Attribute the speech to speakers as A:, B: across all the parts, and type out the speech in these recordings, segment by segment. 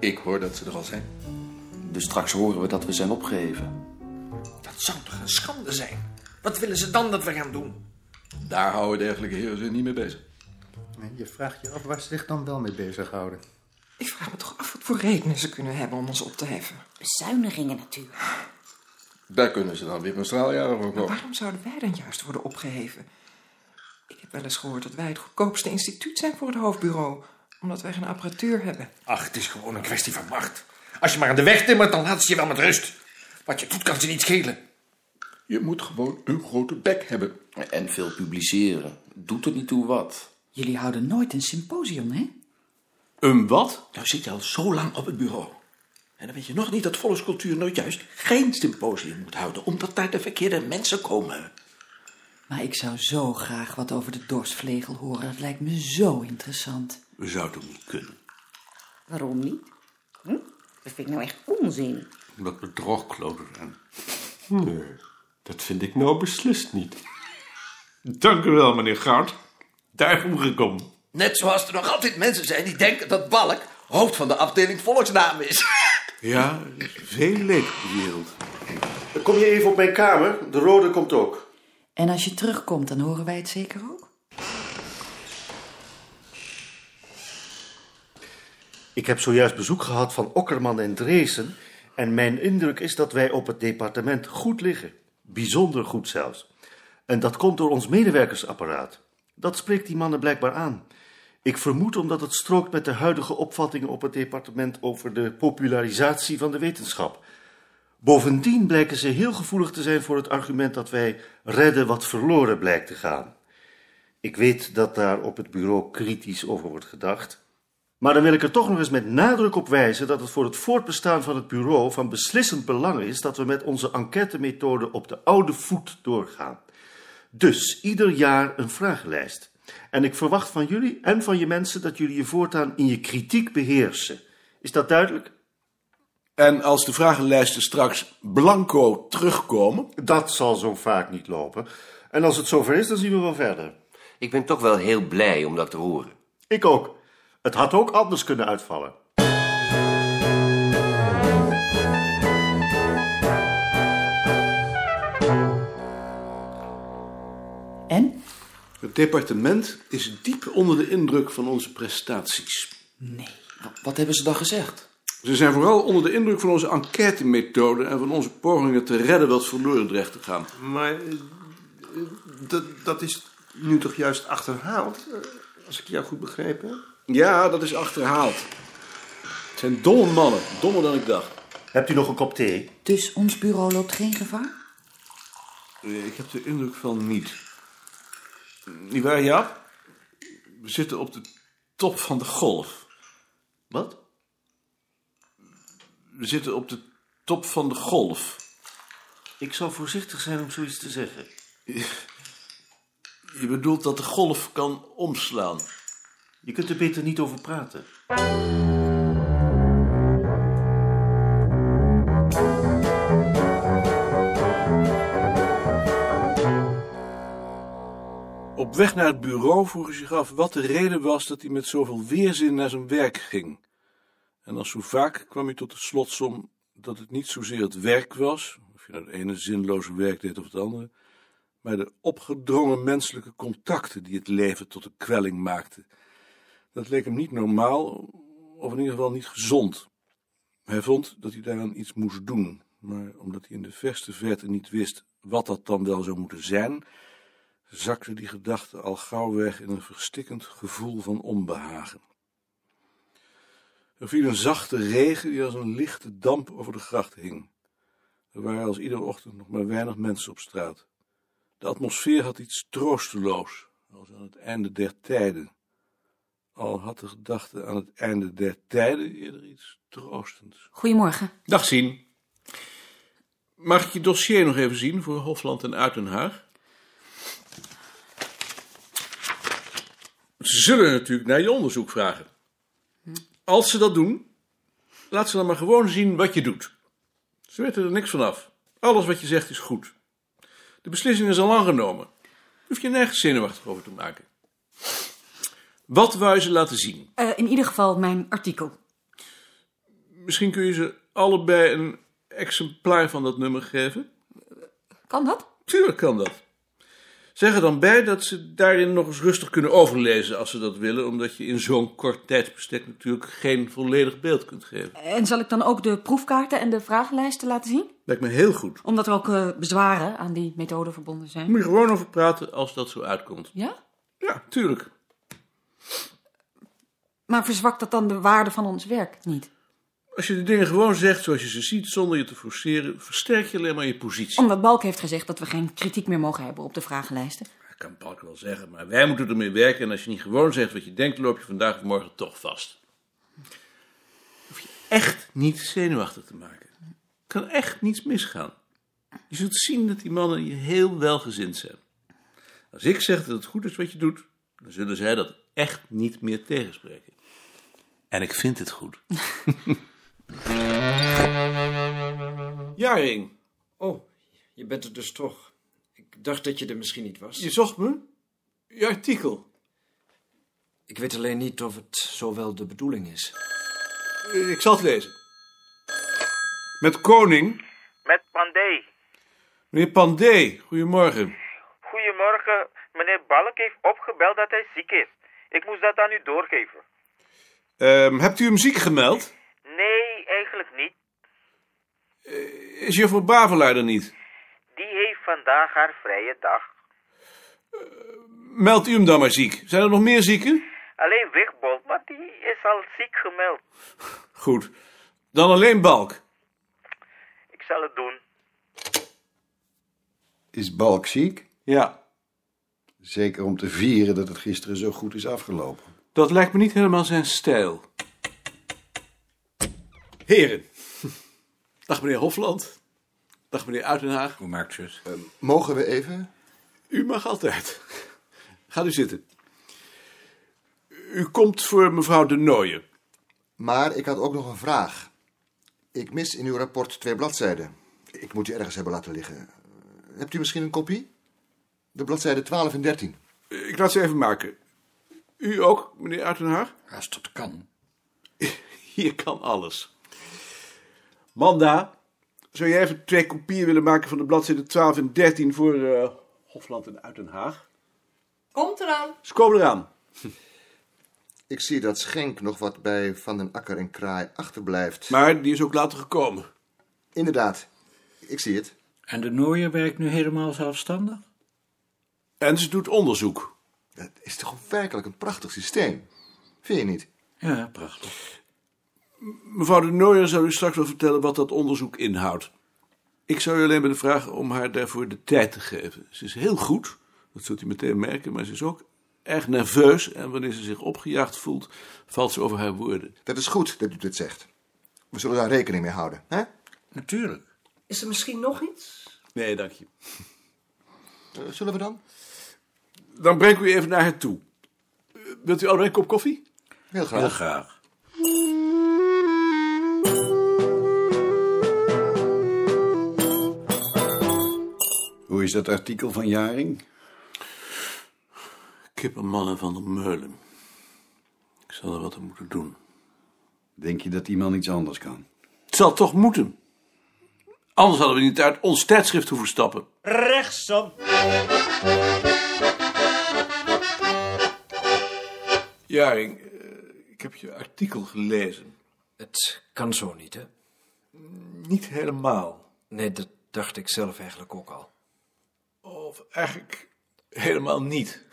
A: Ik hoor dat ze er al zijn.
B: Dus straks horen we dat we zijn opgeheven.
C: Dat zou toch een schande zijn? Wat willen ze dan dat we gaan doen?
A: Daar houden dergelijke heren zich niet mee bezig.
D: En je vraagt je af waar ze zich dan wel mee bezighouden.
E: Ik vraag me toch af wat voor redenen ze kunnen hebben om ons op te heffen.
F: Bezuinigingen natuurlijk.
A: Daar kunnen ze dan weer een straaljager voor
E: Maar
A: kopen.
E: waarom zouden wij dan juist worden opgeheven? Ik heb wel eens gehoord dat wij het goedkoopste instituut zijn voor het hoofdbureau, omdat wij geen apparatuur hebben.
C: Ach, het is gewoon een kwestie van macht. Als je maar aan de weg timmert, dan laat ze je wel met rust. Wat je doet, kan ze niet schelen.
A: Je moet gewoon een grote bek hebben.
B: En veel publiceren. Doet er niet toe wat.
G: Jullie houden nooit een symposium, hè?
H: Een wat? Nou zit je al zo lang op het bureau. En dan weet je nog niet dat volkscultuur nooit juist geen symposium moet houden, omdat daar de verkeerde mensen komen.
G: Maar ik zou zo graag wat over de dorsvlegel horen. Dat lijkt me zo interessant.
H: We zouden niet kunnen.
F: Waarom niet? Hm? Dat vind ik nou echt onzin.
H: Omdat we droogkloten zijn.
I: eh,
J: Nee, dat vind ik nou beslist niet. Dank u wel, meneer Goud. Daar vroeg ik om.
C: Net zoals er nog altijd mensen zijn die denken dat Balk hoofd van de afdeling volksnaam is.
J: Ja, veel leed op de wereld.
K: Kom je even op mijn kamer? De rode komt ook.
G: En als je terugkomt, dan horen wij het zeker ook.
K: Ik heb zojuist bezoek gehad van Okkerman en Dreesen. En mijn indruk is dat wij op het departement goed liggen. Bijzonder goed zelfs. En dat komt door ons medewerkersapparaat. Dat spreekt die mannen blijkbaar aan. Ik vermoed omdat het strookt met de huidige opvattingen op het departement over de popularisatie van de wetenschap. Bovendien blijken ze heel gevoelig te zijn voor het argument dat wij redden wat verloren blijkt te gaan. Ik weet dat daar op het bureau kritisch over wordt gedacht. Maar dan wil ik er toch nog eens met nadruk op wijzen dat het voor het voortbestaan van het bureau van beslissend belang is dat we met onze enquêtemethode op de oude voet doorgaan. Dus ieder jaar een vragenlijst. En ik verwacht van jullie en van je mensen dat jullie je voortaan in je kritiek beheersen. Is dat duidelijk?
I: En als de vragenlijsten straks blanco terugkomen,
K: Dat zal zo vaak niet lopen. En als het zover is, dan zien we wel verder.
L: Ik ben toch wel heel blij om dat te horen.
K: Ik ook. Het had ook anders kunnen uitvallen.
G: En?
I: het departement is diep onder de indruk van onze prestaties.
B: Wat hebben ze dan gezegd?
I: Ze zijn vooral onder de indruk van onze enquêtemethode en van onze pogingen te redden wat verloren dreigt te gaan.
J: Maar eh, dat, dat is nu toch juist achterhaald? eh, Als ik jou goed begreep, hè?
I: Ja, dat is achterhaald. Het zijn domme mannen, dommer dan ik dacht.
K: Hebt u nog een kop thee?
G: Dus ons bureau loopt geen gevaar?
I: Eh, Ik heb de indruk van niet. Niet waar, Jaap? We zitten op de top van de golf.
K: Wat?
I: We zitten op de top van de golf.
K: Ik zou voorzichtig zijn om zoiets te zeggen.
I: Je bedoelt dat de golf kan omslaan.
K: Je kunt er beter niet over praten.
I: Op weg naar het bureau vroeg hij zich af wat de reden was dat hij met zoveel weerzin naar zijn werk ging. En als zo vaak kwam hij tot de slotsom dat het niet zozeer het werk was, of je nou het ene zinloze werk deed of het andere, maar de opgedrongen menselijke contacten die het leven tot een kwelling maakten. Dat leek hem niet normaal, of in ieder geval niet gezond. Hij vond dat hij daaraan iets moest doen, maar omdat hij in de verste verte niet wist wat dat dan wel zou moeten zijn, zakte die gedachte al gauw weg in een verstikkend gevoel van onbehagen. Er viel een zachte regen die als een lichte damp over de gracht hing. Er waren als iedere ochtend nog maar weinig mensen op straat. De atmosfeer had iets troosteloos, als aan het einde der tijden. Al had de gedachte aan het einde der tijden eerder iets troostends.
F: Goedemorgen.
H: Dag zien.
I: Mag ik je dossier nog even zien voor Hofland en Uitenhaag? Ze zullen natuurlijk naar je onderzoek vragen. Als ze dat doen, laat ze dan maar gewoon zien wat je doet. Ze weten er niks van af. Alles wat je zegt is goed. De beslissing is al lang genomen. Hoef je nergens zenuwachtig over te maken. Wat wou je ze laten zien?
G: Eh,
F: in ieder geval mijn artikel.
J: Misschien kun je ze allebei een exemplaar van dat nummer geven?
G: Kan dat?
J: Tuurlijk kan dat. Zeg er dan bij dat ze daarin nog eens rustig kunnen overlezen als ze dat willen, omdat je in zo'n kort tijdsbestek natuurlijk geen volledig beeld kunt geven.
G: En zal ik dan ook de proefkaarten en de vragenlijsten laten zien?
J: Lijkt me heel goed.
G: Omdat er ook eh, bezwaren aan die methode verbonden zijn.
J: Moet je gewoon over praten als dat zo uitkomt.
G: Ja?
J: Ja, tuurlijk.
G: Maar verzwakt dat dan de waarde van ons werk niet?
J: Als je de dingen gewoon zegt zoals je ze ziet, zonder je te forceren, versterk je alleen maar je positie.
G: Omdat Balk heeft gezegd dat we geen kritiek meer mogen hebben op de vragenlijsten.
J: Dat kan Balk wel zeggen, maar wij moeten ermee werken. En als je niet gewoon zegt wat je denkt, loop je vandaag of morgen toch vast. Hoef je echt niet zenuwachtig te maken. Kan echt niets misgaan. Je zult zien dat die mannen je heel welgezind zijn. Als ik zeg dat het goed is wat je doet, dan zullen zij dat echt niet meer tegenspreken. En ik vind het goed. Jaring,
E: Oh, je bent er dus toch. Ik dacht dat je er misschien niet was.
J: Je zocht me?
E: Je artikel? Ik weet alleen niet of het zo wel de bedoeling is.
J: Eh, ik zal het lezen. Met Koning,
I: Met Pandey.
J: meneer Pandé, goedemorgen.
I: Goedemorgen. Meneer Balk heeft opgebeld dat hij ziek is. Ik moest dat aan u doorgeven.
J: Ehm, hebt u hem ziek gemeld?
I: Nee, eigenlijk niet.
J: Eh, Is juffrouw Bavelaar er niet?
I: Die heeft vandaag haar vrije dag.
J: Meld Eh, u hem dan maar ziek. Zijn er nog meer zieken?
I: Alleen Wigbold, maar die is al ziek gemeld.
J: Goed. Dan alleen Balk.
I: Ik zal het doen.
L: Is Balk ziek?
J: Ja.
L: Zeker om te vieren dat het gisteren zo goed is afgelopen.
J: Dat lijkt me niet helemaal zijn stijl. Heren. Dag meneer Hofland. Dag meneer Uitenhaag. Hoe maakt u het?
L: Eh, Mogen we even?
J: U mag altijd. Gaat u zitten. U komt voor mevrouw de Nooijen.
L: Maar ik had ook nog een vraag. Ik mis in uw rapport twee bladzijden. Ik moet die ergens hebben laten liggen. Hebt u misschien een kopie? De bladzijden 12 en 13.
J: Eh, Ik laat ze even maken. U ook, meneer Uitenhaag? Als dat kan. Hier kan alles. Manda, zou jij even twee kopieën willen maken van de bladzijden 12 en 13 voor eh, Hofland en Uitenhaag?
M: Komt eraan.
J: Ze komen eraan.
L: Ik zie dat Schenk nog wat bij Van den Akker en Kraai achterblijft.
J: Maar die is ook later gekomen.
L: Inderdaad. Ik zie het.
N: En de Nooier werkt nu helemaal zelfstandig?
J: En ze doet onderzoek.
L: Dat is toch werkelijk een prachtig systeem? Vind je niet?
N: Ja, prachtig.
J: Mevrouw de Nooijer zou u straks wel vertellen wat dat onderzoek inhoudt. Ik zou u alleen willen vragen om haar daarvoor de tijd te geven. Ze is heel goed, dat zult u meteen merken, maar ze is ook erg nerveus. En wanneer ze zich opgejaagd voelt, valt ze over haar woorden.
L: Dat is goed dat u dit zegt. We zullen daar rekening mee houden, hè?
J: Natuurlijk.
M: Is er misschien nog iets?
J: Nee, dank je.
L: Eh, zullen we dan?
J: Dan breng ik u even naar haar toe. Eh, Wilt u allebei een kop koffie?
L: Heel
J: graag. Heel graag.
L: Hoe is dat artikel van Jaring?
J: Kippenmannen van de Meulen. Ik zal er wat aan moeten doen.
L: Denk je dat die man iets anders kan?
J: Het zal toch moeten. Anders hadden we niet uit ons tijdschrift hoeven stappen.
O: Rechtsom.
J: Jaring, ik heb je artikel gelezen.
E: Het kan zo niet, hè?
J: Niet helemaal.
E: Nee, dat dacht ik zelf eigenlijk ook al.
J: Of eigenlijk helemaal niet.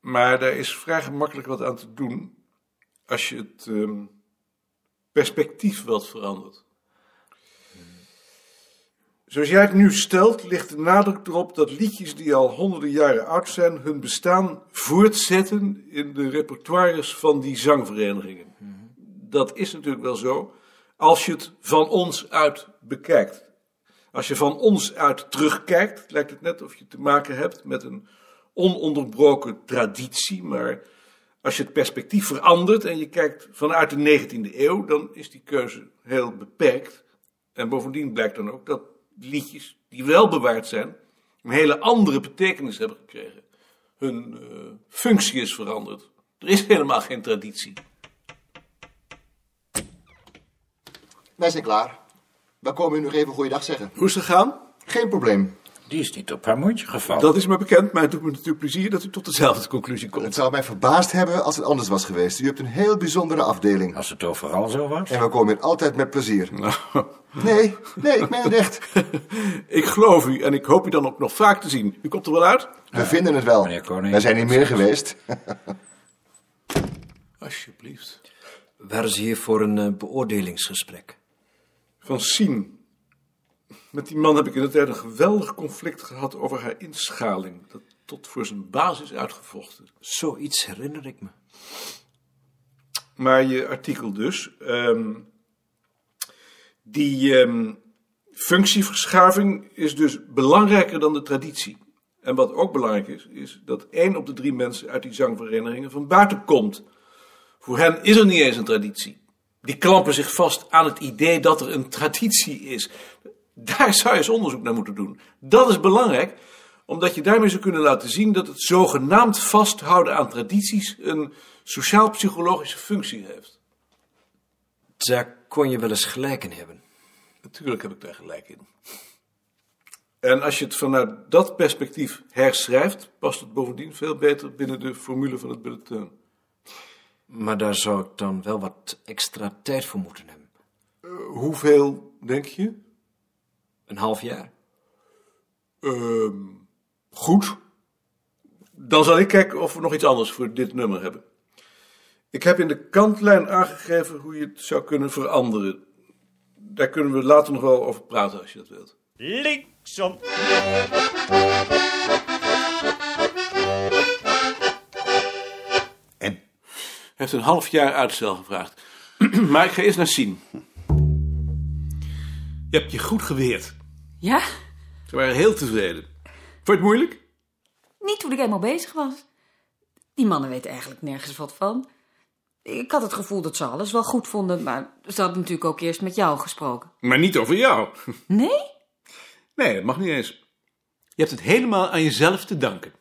J: Maar daar is vrij gemakkelijk wat aan te doen als je het ehm, perspectief wat verandert. Zoals jij het nu stelt, ligt de nadruk erop dat liedjes die al honderden jaren oud zijn, hun bestaan voortzetten in de repertoires van die zangverenigingen. Dat is natuurlijk wel zo, als je het van ons uit bekijkt. Als je van ons uit terugkijkt, lijkt het net of je te maken hebt met een ononderbroken traditie. Maar als je het perspectief verandert en je kijkt vanuit de 19e eeuw, dan is die keuze heel beperkt. En bovendien blijkt dan ook dat liedjes die wel bewaard zijn, een hele andere betekenis hebben gekregen. Hun eh, functie is veranderd. Er is helemaal geen traditie.
L: Wij zijn klaar. Wij komen u nog even goeiedag zeggen.
J: Hoe is het gegaan?
L: Geen probleem.
N: Die is niet op haar mondje gevallen.
J: Dat is me bekend, maar het doet me natuurlijk plezier dat u tot dezelfde conclusie komt.
L: Het zou mij verbaasd hebben als het anders was geweest. U hebt een heel bijzondere afdeling.
N: Als het overal zo was.
L: En we komen hier altijd met plezier. Nee, nee, ik meen het echt.
J: Ik geloof u en ik hoop u dan ook nog vaak te zien. U komt er wel uit?
L: We vinden het wel.
N: Koning.
L: Oh, Wij zijn hier meer geweest.
J: Alsjeblieft.
E: Waren ze hier voor een eh, beoordelingsgesprek?
J: Van Sien. Met die man heb ik inderdaad een geweldig conflict gehad over haar inschaling. Dat tot voor zijn baas is uitgevochten.
E: Zoiets herinner ik me.
J: Maar je artikel dus. ehm, die ehm, functieverschuiving is dus belangrijker dan de traditie. En wat ook belangrijk is, is dat één op de drie mensen uit die zangverenigingen van buiten komt. Voor hen is er niet eens een traditie. Die klampen zich vast aan het idee dat er een traditie is. Daar zou je eens onderzoek naar moeten doen. Dat is belangrijk, omdat je daarmee zou kunnen laten zien dat het zogenaamd vasthouden aan tradities een sociaal-psychologische functie heeft.
E: Daar kon je wel eens gelijk in hebben.
J: Natuurlijk heb ik daar gelijk in. En als je het vanuit dat perspectief herschrijft, past het bovendien veel beter binnen de formule van het bulletin.
E: Maar daar zou ik dan wel wat extra tijd voor moeten hebben.
J: hoeveel, denk je?
E: Een half jaar.
J: Ehm, goed. Dan zal ik kijken of we nog iets anders voor dit nummer hebben. Ik heb in de kantlijn aangegeven hoe je het zou kunnen veranderen. Daar kunnen we later nog wel over praten als je dat wilt.
O: Linksom.
J: Hij heeft een half jaar uitstel gevraagd. maar ik ga eerst naar zien. Je hebt je goed geweerd.
P: Ja?
J: Ze waren heel tevreden. Vond je het moeilijk?
P: Niet toen ik eenmaal bezig was. Die mannen weten eigenlijk nergens wat van. Ik had het gevoel dat ze alles wel goed vonden, maar ze hadden natuurlijk ook eerst met jou gesproken.
J: Maar niet over jou.
P: Nee?
J: Nee, dat mag niet eens. Je hebt het helemaal aan jezelf te danken.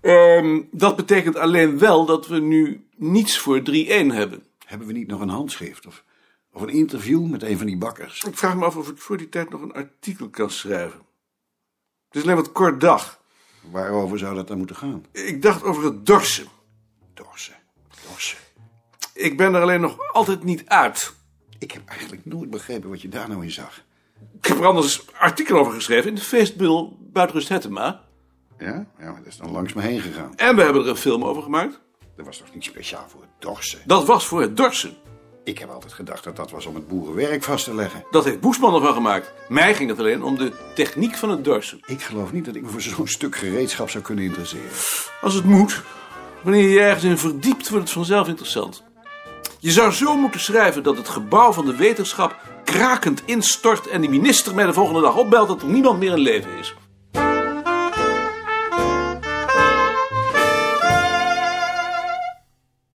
J: Ehm, dat betekent alleen wel dat we nu niets voor 3-1 hebben.
D: Hebben we niet nog een handschrift of, of een interview met een van die bakkers?
J: Ik vraag me af of ik voor die tijd nog een artikel kan schrijven. Het is alleen wat kort dag.
D: Waarover zou dat dan moeten gaan?
J: Ik dacht over het dorsen.
D: Dorsen. Dorsen.
J: Ik ben er alleen nog altijd niet uit.
D: Ik heb eigenlijk nooit begrepen wat je daar nou in zag.
J: Ik heb er anders een artikel over geschreven in de feestbundel Buitenrust Hettema.
D: Ja? Ja, maar dat is dan langs me heen gegaan.
J: En we hebben er een film over gemaakt.
D: Dat was toch niet speciaal voor het dorsen?
J: Dat was voor het dorsen.
D: Ik heb altijd gedacht dat dat was om het boerenwerk vast te leggen.
J: Dat heeft Boesman ervan gemaakt. Mij ging het alleen om de techniek van het dorsen.
D: Ik geloof niet dat ik me voor zo'n stuk gereedschap zou kunnen interesseren.
J: Als het moet. Wanneer je ergens in verdiept, wordt het vanzelf interessant. Je zou zo moeten schrijven dat het gebouw van de wetenschap krakend instort en de minister mij de volgende dag opbelt dat er niemand meer in leven is.